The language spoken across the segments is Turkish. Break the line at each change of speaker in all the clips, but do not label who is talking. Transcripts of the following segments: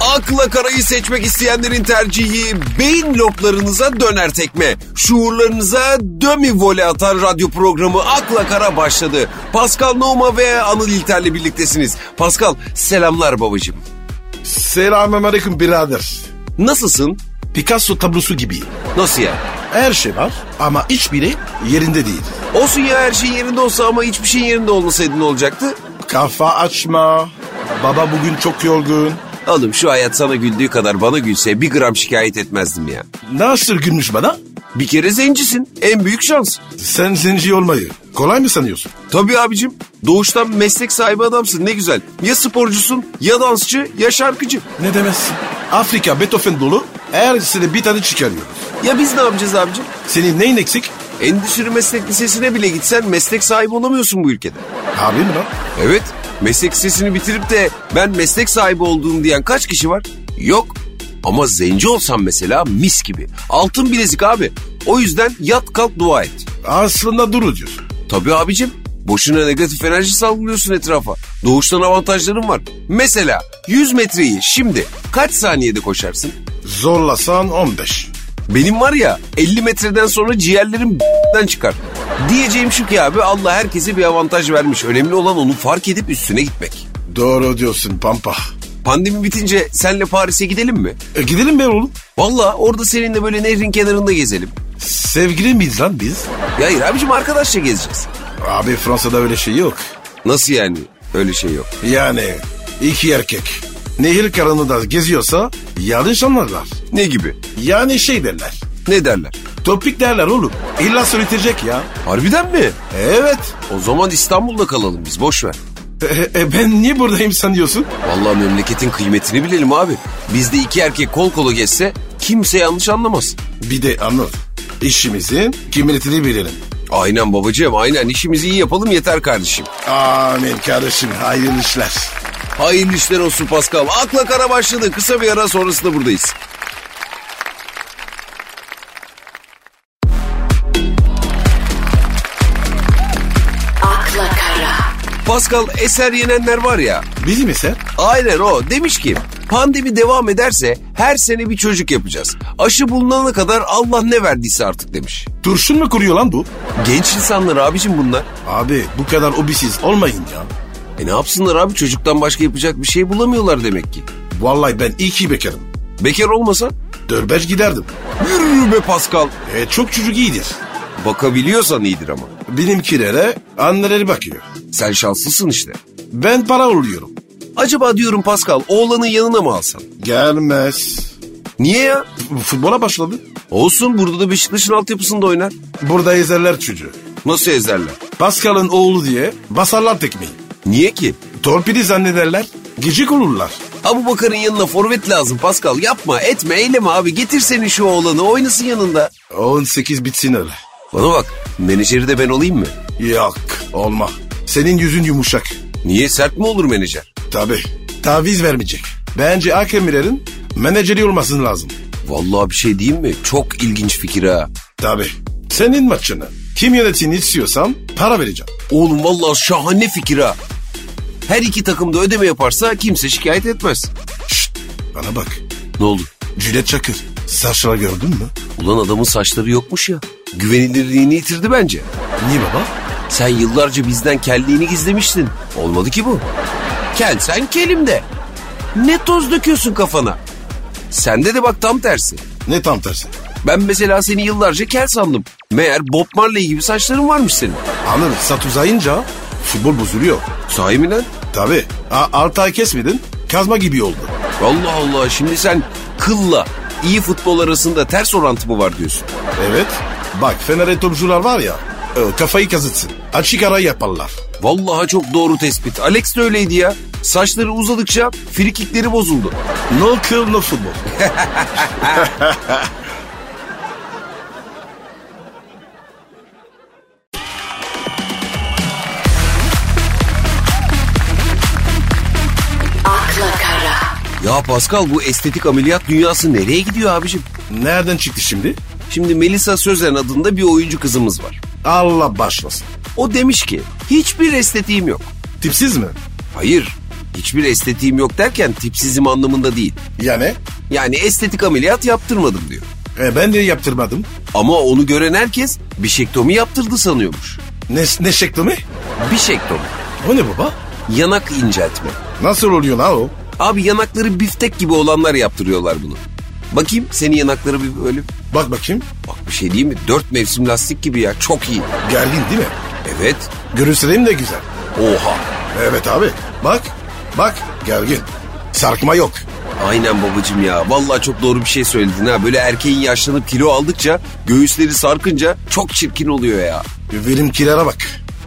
Akla karayı seçmek isteyenlerin tercihi beyin loblarınıza döner tekme. Şuurlarınıza dömi vole atar radyo programı Akla Kara başladı. Pascal Nouma ve Anıl İlter'le birliktesiniz. Pascal selamlar babacığım.
Selamünaleyküm birader.
Nasılsın?
Picasso tablosu gibi.
Nasıl ya?
Her şey var ama hiçbiri yerinde değil.
Olsun ya her şey yerinde olsa ama hiçbir şey yerinde olmasaydı ne olacaktı?
Kafa açma. Baba bugün çok yorgun.
Oğlum şu hayat sana güldüğü kadar bana gülse bir gram şikayet etmezdim ya.
Nasıl gülmüş bana?
Bir kere zencisin. En büyük şans.
Sen zenci olmayı kolay mı sanıyorsun?
Tabii abicim. Doğuştan meslek sahibi adamsın ne güzel. Ya sporcusun ya dansçı ya şarkıcı.
Ne demezsin? Afrika Beethoven dolu her sene bir tane çıkarıyoruz.
Ya biz ne yapacağız abicim?
Senin neyin eksik?
Endüstri meslek lisesine bile gitsen meslek sahibi olamıyorsun bu ülkede.
Abi mi lan?
Evet meslek lisesini bitirip de ben meslek sahibi olduğum diyen kaç kişi var? Yok. Ama zenci olsan mesela mis gibi. Altın bilezik abi. O yüzden yat kalk dua et.
Aslında duru diyorsun.
Tabii abicim. Boşuna negatif enerji salgılıyorsun etrafa. Doğuştan avantajların var. Mesela 100 metreyi şimdi kaç saniyede koşarsın?
Zorlasan 15.
Benim var ya 50 metreden sonra ciğerlerim den çıkar. Diyeceğim şu ki abi Allah herkese bir avantaj vermiş. Önemli olan onu fark edip üstüne gitmek.
Doğru diyorsun pampa.
Pandemi bitince senle Paris'e gidelim mi?
E, gidelim be oğlum.
Valla orada seninle böyle nehrin kenarında gezelim.
Sevgili miyiz lan biz?
Ya hayır abicim arkadaşça gezeceğiz.
Abi Fransa'da öyle şey yok.
Nasıl yani? Öyle şey yok.
Yani iki erkek nehir karanlığında geziyorsa yanlış anlarlar.
Ne gibi?
Yani şey derler.
Ne derler?
Topik derler oğlum. İlla söyleyecek ya.
Harbiden mi?
Evet.
O zaman İstanbul'da kalalım biz boş ver.
E, e, ben niye buradayım sanıyorsun?
Vallahi memleketin kıymetini bilelim abi. Bizde iki erkek kol kola geçse kimse yanlış anlamaz.
Bir de anlat. İşimizin kıymetini bilelim.
Aynen babacığım aynen işimizi iyi yapalım yeter kardeşim.
Amin kardeşim hayırlı işler.
Hayırlı işler olsun Pascal. Akla kara başladı. Kısa bir ara sonrasında buradayız.
akla kara,
Pascal eser yenenler var ya.
Bizim ise
Aynen o. Demiş ki pandemi devam ederse her sene bir çocuk yapacağız. Aşı bulunana kadar Allah ne verdiyse artık demiş.
turşun mu kuruyor lan bu?
Genç insanlar abicim bunlar.
Abi bu kadar obisiz olmayın ya.
E ne yapsınlar abi çocuktan başka yapacak bir şey bulamıyorlar demek ki.
Vallahi ben iyi ki bekarım.
Bekar olmasan
Dörbeş giderdim.
yürü be Pascal.
E, çok çocuk iyidir.
Bakabiliyorsan iyidir ama.
Benimkilere anneleri bakıyor.
Sen şanslısın işte.
Ben para oluyorum.
Acaba diyorum Pascal oğlanın yanına mı alsan?
Gelmez.
Niye ya?
Futbola başladı.
Olsun burada da Beşiktaş'ın altyapısında oynar.
Burada ezerler çocuğu.
Nasıl ezerler?
Pascal'ın oğlu diye basarlar tekmeyi.
Niye ki?
Torpili zannederler. Gecik olurlar.
Abu Bakar'ın yanına forvet lazım Pascal. Yapma etme eyleme abi. Getir seni şu oğlanı oynasın yanında.
18 bitsin öyle.
Bana bak menajeri de ben olayım mı?
Yok olma. Senin yüzün yumuşak.
Niye sert mi olur menajer?
Tabi. Taviz vermeyecek. Bence hakemlerin menajeri olmasın lazım.
Vallahi bir şey diyeyim mi? Çok ilginç fikir ha.
Tabi. Senin maçını kim yönetini istiyorsan para vereceğim.
Oğlum vallahi şahane fikir ha. Her iki takım da ödeme yaparsa kimse şikayet etmez.
Şşt bana bak.
Ne oldu?
Cület Çakır. Saçları gördün mü?
Ulan adamın saçları yokmuş ya. Güvenilirliğini yitirdi bence.
Niye baba?
Sen yıllarca bizden kelliğini gizlemiştin. Olmadı ki bu. Kel sen kelim de. Ne toz döküyorsun kafana. Sende de bak tam tersi.
Ne tam tersi?
Ben mesela seni yıllarca kel sandım. Meğer Bob Marley gibi saçların varmış senin.
Anır sat uzayınca futbol bozuluyor.
Sahi mi lan?
Tabi. Altı ay kesmedin kazma gibi oldu.
Allah Allah şimdi sen kılla iyi futbol arasında ters orantı mı var diyorsun?
Evet. Bak Fener'e topçular var ya e, kafayı kazıtsın. Açık ara yaparlar.
Vallahi çok doğru tespit. Alex de öyleydi ya. Saçları uzadıkça frikikleri bozuldu.
No kill no futbol.
akla kara,
Ya Pascal bu estetik ameliyat dünyası nereye gidiyor abicim?
Nereden çıktı şimdi?
Şimdi Melisa Sözen adında bir oyuncu kızımız var.
Allah başlasın.
O demiş ki hiçbir estetiğim yok.
Tipsiz mi?
Hayır Hiçbir estetiğim yok derken tipsizim anlamında değil.
Yani?
Yani estetik ameliyat yaptırmadım diyor.
E, ben de yaptırmadım.
Ama onu gören herkes bişektomi yaptırdı sanıyormuş.
Ne, ne şekli mi?
Bişektomi.
O ne baba?
Yanak inceltme.
Nasıl oluyor lan o?
Abi yanakları biftek gibi olanlar yaptırıyorlar bunu. Bakayım senin yanakları bir böyle...
Bak bakayım.
Bak bir şey değil mi? Dört mevsim lastik gibi ya. Çok iyi.
Gergin değil mi?
Evet.
Görüntülerim de güzel.
Oha.
Evet abi. Bak. Bak. Gergin. Sarkma yok.
Aynen babacım ya. Vallahi çok doğru bir şey söyledin ha. Böyle erkeğin yaşlanıp kilo aldıkça, göğüsleri sarkınca çok çirkin oluyor ya.
Benimkilere bak.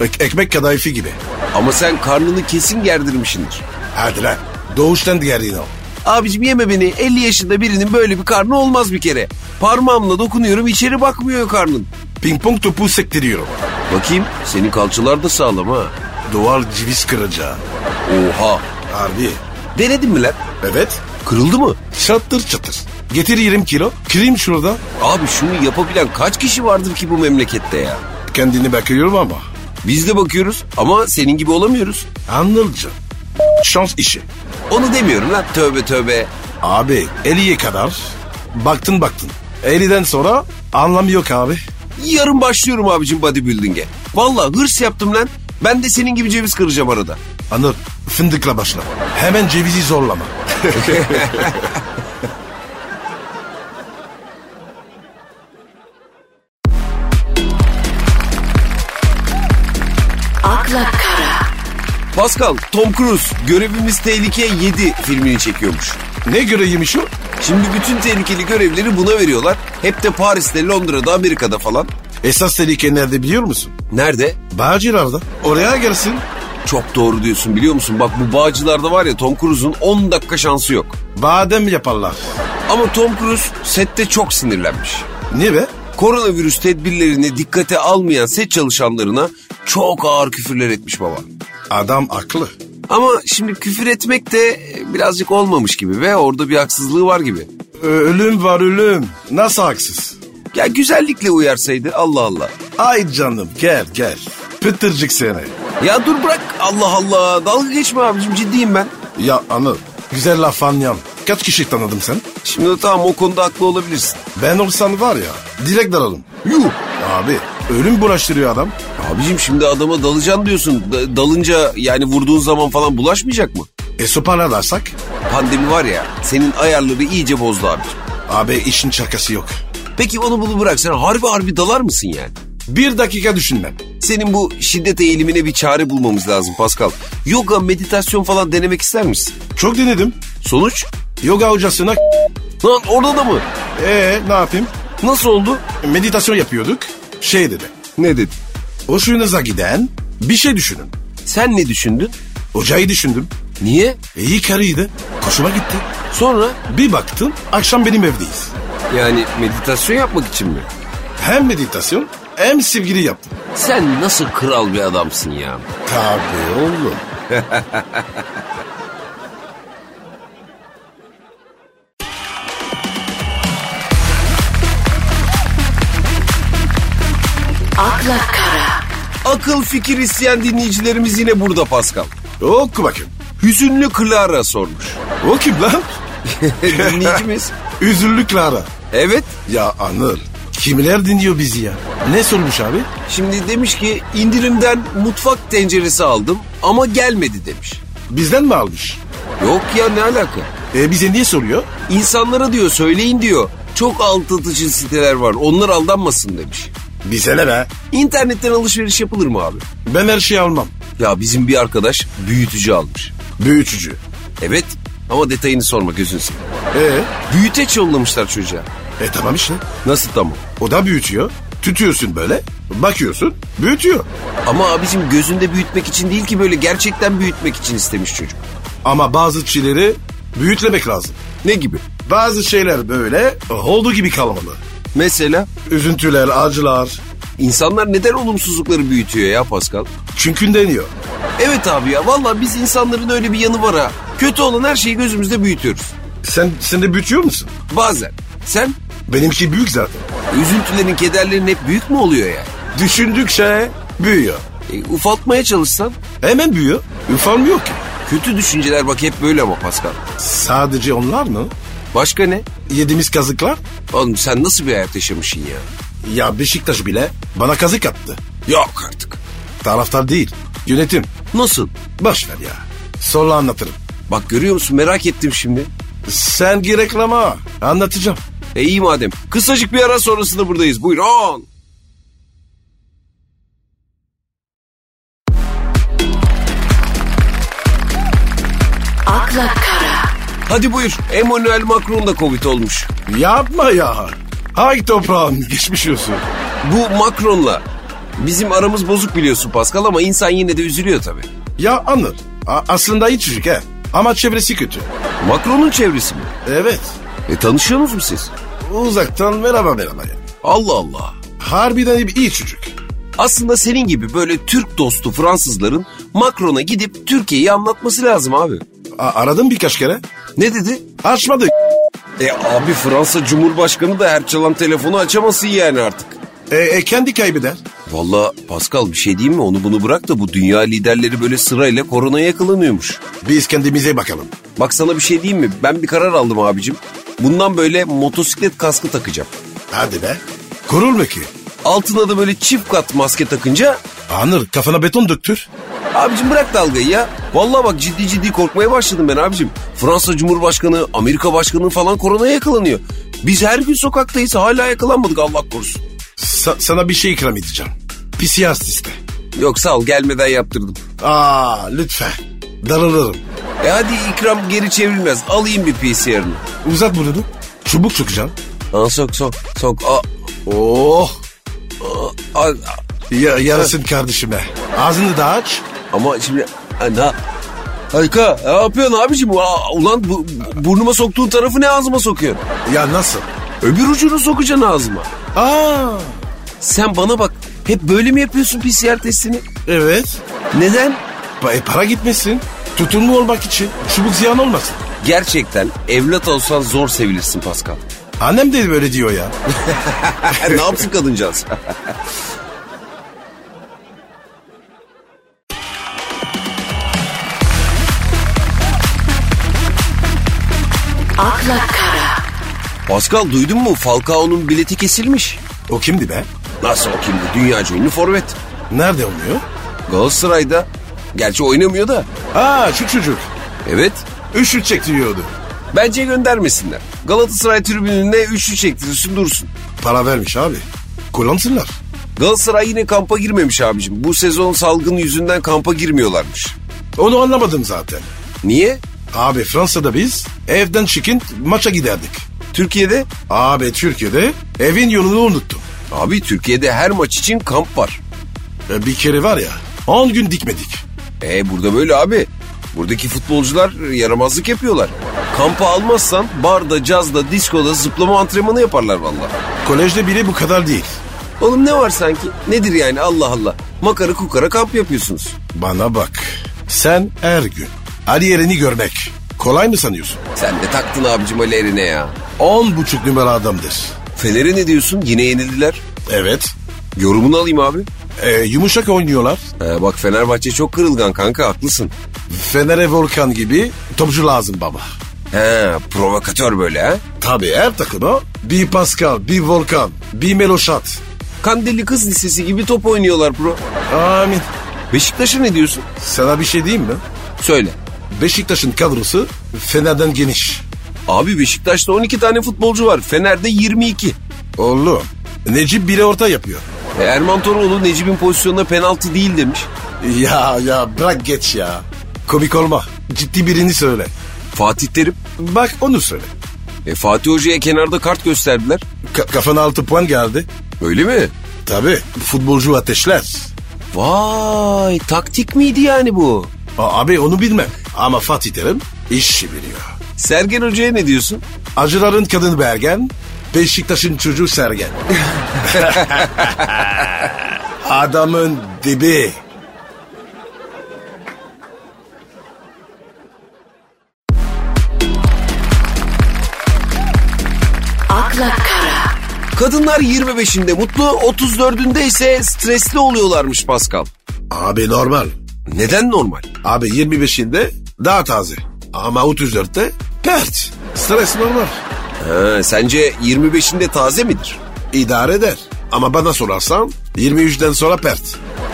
Ek- ekmek kadayıfı gibi.
Ama sen karnını kesin gerdirmişsindir.
Hadi lan. Doğuştan gergin o.
Abicim yeme beni. 50 yaşında birinin böyle bir karnı olmaz bir kere. Parmağımla dokunuyorum içeri bakmıyor karnın.
Ping pong topu sektiriyorum.
Bakayım senin kalçalar da sağlam ha.
Duvar civiz kıracağı.
Oha.
Harbi.
Denedin mi lan?
Evet.
Kırıldı mı?
Çatır çatır. Getir 20 kilo. Kırayım şurada.
Abi şunu yapabilen kaç kişi vardır ki bu memlekette ya?
Kendini bakıyorum ama.
Biz de bakıyoruz ama senin gibi olamıyoruz.
Anlıcı. Şans işi.
Onu demiyorum lan tövbe tövbe.
Abi 50'ye kadar baktın baktın. 50'den sonra anlam yok abi.
Yarın başlıyorum abicim bodybuilding'e. Valla hırs yaptım lan. Ben de senin gibi ceviz kıracağım arada.
Anıl fındıkla başla. Hemen cevizi zorlama.
akla kara,
Pascal, Tom Cruise Görevimiz Tehlike 7 filmini çekiyormuş.
Ne göre yemiş o?
Şimdi bütün tehlikeli görevleri buna veriyorlar. Hep de Paris'te, Londra'da, Amerika'da falan.
Esas tehlike nerede biliyor musun?
Nerede?
Bağcılar'da. Oraya gelsin.
Çok doğru diyorsun biliyor musun? Bak bu bağcılarda var ya Tom Cruise'un 10 dakika şansı yok.
Badem yaparlar.
Ama Tom Cruise sette çok sinirlenmiş.
Niye be?
Koronavirüs tedbirlerini dikkate almayan set çalışanlarına çok ağır küfürler etmiş baba.
Adam aklı.
Ama şimdi küfür etmek de e, birazcık olmamış gibi ve orada bir haksızlığı var gibi.
Ö- ölüm var ölüm. Nasıl haksız?
Ya güzellikle uyarsaydı Allah Allah.
Ay canım gel gel. Pıtırcık seni.
Ya dur bırak Allah Allah dalga geçme abicim ciddiyim ben.
Ya Anıl güzel laf anlayan. Kaç kişi tanıdım sen?
Şimdi tamam o konuda haklı olabilirsin.
Ben olsam var ya direkt dalalım.
Yuh.
Abi ölüm bulaştırıyor adam.
Abicim şimdi adama dalacaksın diyorsun. Da- dalınca yani vurduğun zaman falan bulaşmayacak mı?
E sopalarsak?
Pandemi var ya senin ayarları iyice bozdu abicim.
Abi işin şakası yok.
Peki onu bunu bıraksan harbi harbi dalar mısın yani?
Bir dakika düşünmem.
Senin bu şiddet eğilimine bir çare bulmamız lazım Pascal. Yoga, meditasyon falan denemek ister misin?
Çok denedim.
Sonuç?
Yoga hocasına
Lan orada da mı?
ee ne yapayım?
Nasıl oldu?
Meditasyon yapıyorduk. Şey dedi.
Ne dedi?
Hoşunuza giden bir şey düşünün.
Sen ne düşündün?
Hocayı düşündüm.
Niye?
E, iyi karıydı. Koşuma gitti.
Sonra?
Bir baktım akşam benim evdeyiz.
Yani meditasyon yapmak için mi?
Hem meditasyon hem sevgili yaptım.
Sen nasıl kral bir adamsın ya?
Tabii oğlum.
akla kara,
Akıl fikir isteyen dinleyicilerimiz yine burada Pascal.
Oku bakayım.
Hüzünlü Clara sormuş.
O kim lan?
Dinleyicimiz.
Üzüllü Clara.
Evet.
Ya Anıl kimler dinliyor bizi ya? Ne sormuş abi?
Şimdi demiş ki indirimden mutfak tenceresi aldım ama gelmedi demiş.
Bizden mi almış?
Yok ya ne alaka?
E bize niye soruyor?
İnsanlara diyor söyleyin diyor. Çok aldatıcı siteler var onlar aldanmasın demiş.
Bize ne be?
İnternetten alışveriş yapılır mı abi?
Ben her şeyi almam.
Ya bizim bir arkadaş büyütücü almış.
Büyütücü.
Evet ama detayını sorma gözün seveyim.
E,
Büyüteç yollamışlar çocuğa.
e tamam işte.
Nasıl tamam?
O da büyütüyor. Tütüyorsun böyle. Bakıyorsun. Büyütüyor.
Ama abicim gözünde büyütmek için değil ki böyle gerçekten büyütmek için istemiş çocuk.
Ama bazı şeyleri büyütlemek lazım.
Ne gibi?
Bazı şeyler böyle e, olduğu gibi kalmalı.
Mesela
Üzüntüler, acılar.
insanlar neden olumsuzlukları büyütüyor ya Pascal?
Çünkü deniyor.
Evet abi ya valla biz insanların öyle bir yanı var ha. Kötü olan her şeyi gözümüzde büyütüyoruz.
Sen, sen de büyütüyor musun?
Bazen. Sen
Benimki büyük zaten.
üzüntülerin, kederlerin hep büyük mü oluyor ya?
Düşündükçe büyüyor.
E, ufaltmaya çalışsan
Hemen büyüyor. Ufalmıyor ki.
Kötü düşünceler bak hep böyle ama Pascal.
Sadece onlar mı?
Başka ne?
Yediğimiz kazıklar?
Oğlum sen nasıl bir hayat yaşamışsın ya?
Ya Beşiktaş bile bana kazık attı.
Yok artık.
Taraftar değil. Yönetim.
Nasıl?
Boş ver ya. Sonra anlatırım.
Bak görüyor musun merak ettim şimdi.
Sen gir reklama. Anlatacağım.
E iyi madem. Kısacık bir ara sonrasında buradayız. Buyurun.
akla kara,
Hadi buyur. Emmanuel Macron da Covid olmuş.
Yapma ya. Ay toprağım geçmiş olsun.
Bu Macron'la bizim aramız bozuk biliyorsun Pascal ama insan yine de üzülüyor tabii.
Ya Anıl. a- aslında iyi çocuk he. Ama çevresi kötü.
Macron'un çevresi mi?
Evet.
E tanışıyor musun siz?
Uzaktan merhaba merhaba ya.
Allah Allah.
Harbiden iyi- iyi çocuk.
Aslında senin gibi böyle Türk dostu Fransızların Macron'a gidip Türkiye'yi anlatması lazım abi.
A- aradım birkaç kere.
Ne dedi?
Açmadı.
E abi Fransa Cumhurbaşkanı da her çalan telefonu açamasın yani artık.
E, e, kendi kaybeder.
Valla Pascal bir şey diyeyim mi? Onu bunu bırak da bu dünya liderleri böyle sırayla koronaya yakalanıyormuş.
Biz kendimize bakalım.
Bak sana bir şey diyeyim mi? Ben bir karar aldım abicim. Bundan böyle motosiklet kaskı takacağım.
Hadi be. Kurul mu ki?
Altına da böyle çift kat maske takınca...
Anır kafana beton döktür.
Abicim bırak dalgayı ya. Valla bak ciddi ciddi korkmaya başladım ben abicim. Fransa Cumhurbaşkanı, Amerika Başkanı falan koronaya yakalanıyor. Biz her gün sokaktayız hala yakalanmadık Allah korusun.
Sa- sana bir şey ikram edeceğim. Pisiyas iste.
Yok sağ ol gelmeden yaptırdım.
Aa lütfen. Darılırım.
E hadi ikram geri çevrilmez. Alayım bir PCR'ını.
Uzat burnunu. Çubuk sokacağım.
Lan sok sok sok. A,
Oh.
a, a-
Ya, yarasın kardeşime. Ağzını da aç.
Ama şimdi ha, ne Harika. Ne yapıyorsun abicim? Aa, ulan bu, bu- burnuma soktuğun tarafı ne ağzıma sokuyorsun?
Ya nasıl?
Öbür ucunu sokacaksın ağzıma.
Aa.
Sen bana bak. Hep böyle mi yapıyorsun PCR testini?
Evet.
Neden?
Pa- e, para gitmesin. Tutumlu olmak için. Çubuk ziyan olmasın.
Gerçekten evlat olsan zor sevilirsin Pascal.
Annem de böyle diyor ya.
ne yapsın kadıncağız?
akla kara,
Pascal duydun mu? Falcao'nun bileti kesilmiş.
O kimdi be?
Nasıl o kimdi? Dünyaca ünlü forvet.
Nerede oynuyor?
Galatasaray'da. Gerçi oynamıyor da.
Aa şu çocuk.
Evet.
Üşütecek diyordu.
Bence göndermesinler. Galatasaray tribününe üçlü çektirirsin dursun.
Para vermiş abi. Kullansınlar.
Galatasaray yine kampa girmemiş abicim. Bu sezon salgın yüzünden kampa girmiyorlarmış.
Onu anlamadım zaten.
Niye?
Abi Fransa'da biz evden çıkın maça giderdik.
Türkiye'de?
Abi Türkiye'de evin yolunu unuttum.
Abi Türkiye'de her maç için kamp var.
E, Bir kere var ya 10 gün dikmedik.
E burada böyle abi. Buradaki futbolcular yaramazlık yapıyorlar. Kampa almazsan barda, cazda, diskoda zıplama antrenmanı yaparlar valla.
Kolejde bile bu kadar değil.
Oğlum ne var sanki? Nedir yani Allah Allah? Makara kukara kamp yapıyorsunuz.
Bana bak. Sen her gün Ali yerini görmek kolay mı sanıyorsun?
Sen de taktın abicim Ali Eren'e ya.
10 buçuk numara adamdır.
Fener'e ne diyorsun? Yine yenildiler.
Evet.
Yorumunu alayım abi.
E, yumuşak oynuyorlar.
Ee, bak Fenerbahçe çok kırılgan kanka haklısın.
Fener'e Volkan gibi topçu lazım baba.
He provokatör böyle ha.
Tabii her takıma bir Pascal, bir Volkan, bir Meloşat.
Kandilli Kız Lisesi gibi top oynuyorlar bro.
Amin.
Beşiktaş'a ne diyorsun?
Sana bir şey diyeyim mi?
Söyle.
Beşiktaş'ın kadrosu Fener'den geniş.
Abi Beşiktaş'ta 12 tane futbolcu var. Fener'de 22.
Oğlum Necip bile orta yapıyor.
E, Erman Toroğlu Necip'in pozisyonuna penaltı değil demiş.
Ya ya bırak geç ya. Komik olma. Ciddi birini söyle.
Fatih Terim.
Bak onu söyle.
E, Fatih Hoca'ya kenarda kart gösterdiler.
Ka- kafana altı puan geldi.
Öyle mi?
Tabii futbolcu ateşler.
Vay taktik miydi yani bu?
A- abi onu bilmem. Ama Fatih Terim işi biliyor.
Sergen Hoca'ya ne diyorsun?
Acıların kadını Bergen, Beşiktaş'ın çocuğu Sergen. Adamın dibi.
akla kara,
Kadınlar 25'inde mutlu, 34'ünde ise stresli oluyorlarmış Pascal.
Abi normal.
Neden normal?
Abi 25'inde Daha taze. Ama 34'te pert. Stres normal.
Ha, sence 25'inde taze midir?
İdare eder. Ama bana sorarsan 23'den sonra pert.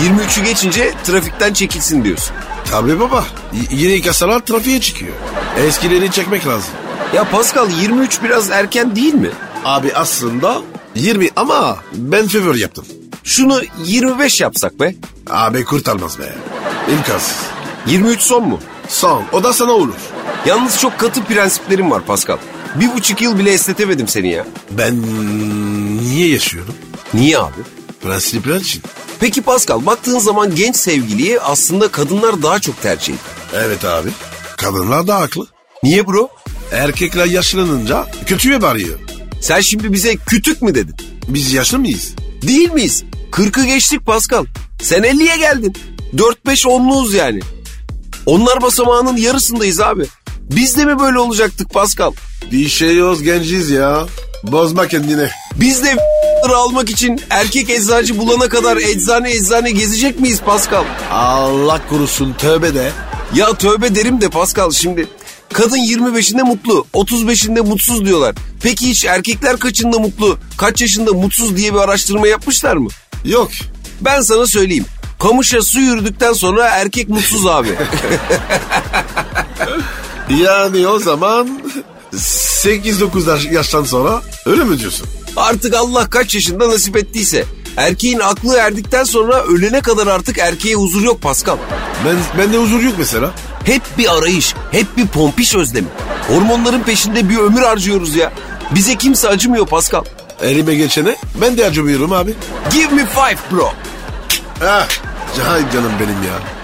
23'ü geçince trafikten çekilsin diyorsun.
Tabii baba. Y- yeni kasalar trafiğe çıkıyor. Eskileri çekmek lazım.
Ya Pascal 23 biraz erken değil mi?
Abi aslında 20 ama ben favor yaptım.
Şunu 25 yapsak be.
Abi kurtarmaz be. İmkansız.
23 son mu?
Son. O da sana olur.
Yalnız çok katı prensiplerim var Pascal. Bir buçuk yıl bile esnetemedim seni ya.
Ben niye yaşıyorum?
Niye abi?
Prensipler için.
Peki Pascal baktığın zaman genç sevgiliyi aslında kadınlar daha çok tercih ediyor.
Evet abi. Kadınlar da haklı.
Niye bro?
Erkekler yaşlanınca kötüye varıyor.
Sen şimdi bize kütük mü dedin?
Biz yaşlı mıyız?
Değil miyiz? 40'ı geçtik Pascal. Sen 50'ye geldin. 4-5 onluğuz yani. Onlar basamağının yarısındayız abi. Biz de mi böyle olacaktık Pascal?
Bir şey yok genciz ya. Bozma kendini.
Biz de almak için erkek eczacı bulana kadar eczane eczane gezecek miyiz Pascal?
Allah korusun tövbe de.
Ya tövbe derim de Pascal şimdi. Kadın 25'inde mutlu, 35'inde mutsuz diyorlar. Peki hiç erkekler kaçında mutlu, kaç yaşında mutsuz diye bir araştırma yapmışlar mı?
Yok.
Ben sana söyleyeyim. Kamışa su yürüdükten sonra erkek mutsuz abi.
Yani o zaman 8-9 yaş- yaştan sonra öyle mi diyorsun?
artık Allah kaç yaşında nasip ettiyse. Erkeğin aklı erdikten sonra ölene kadar artık erkeğe huzur yok Pascal.
Ben, bende huzur yok mesela.
Hep bir arayış, hep bir pompiş özlemi. Hormonların peşinde bir ömür harcıyoruz ya. Bize kimse acımıyor Pascal.
Elime geçene ben de acımıyorum abi.
Give me five bro.
Ah, can- canım benim ya.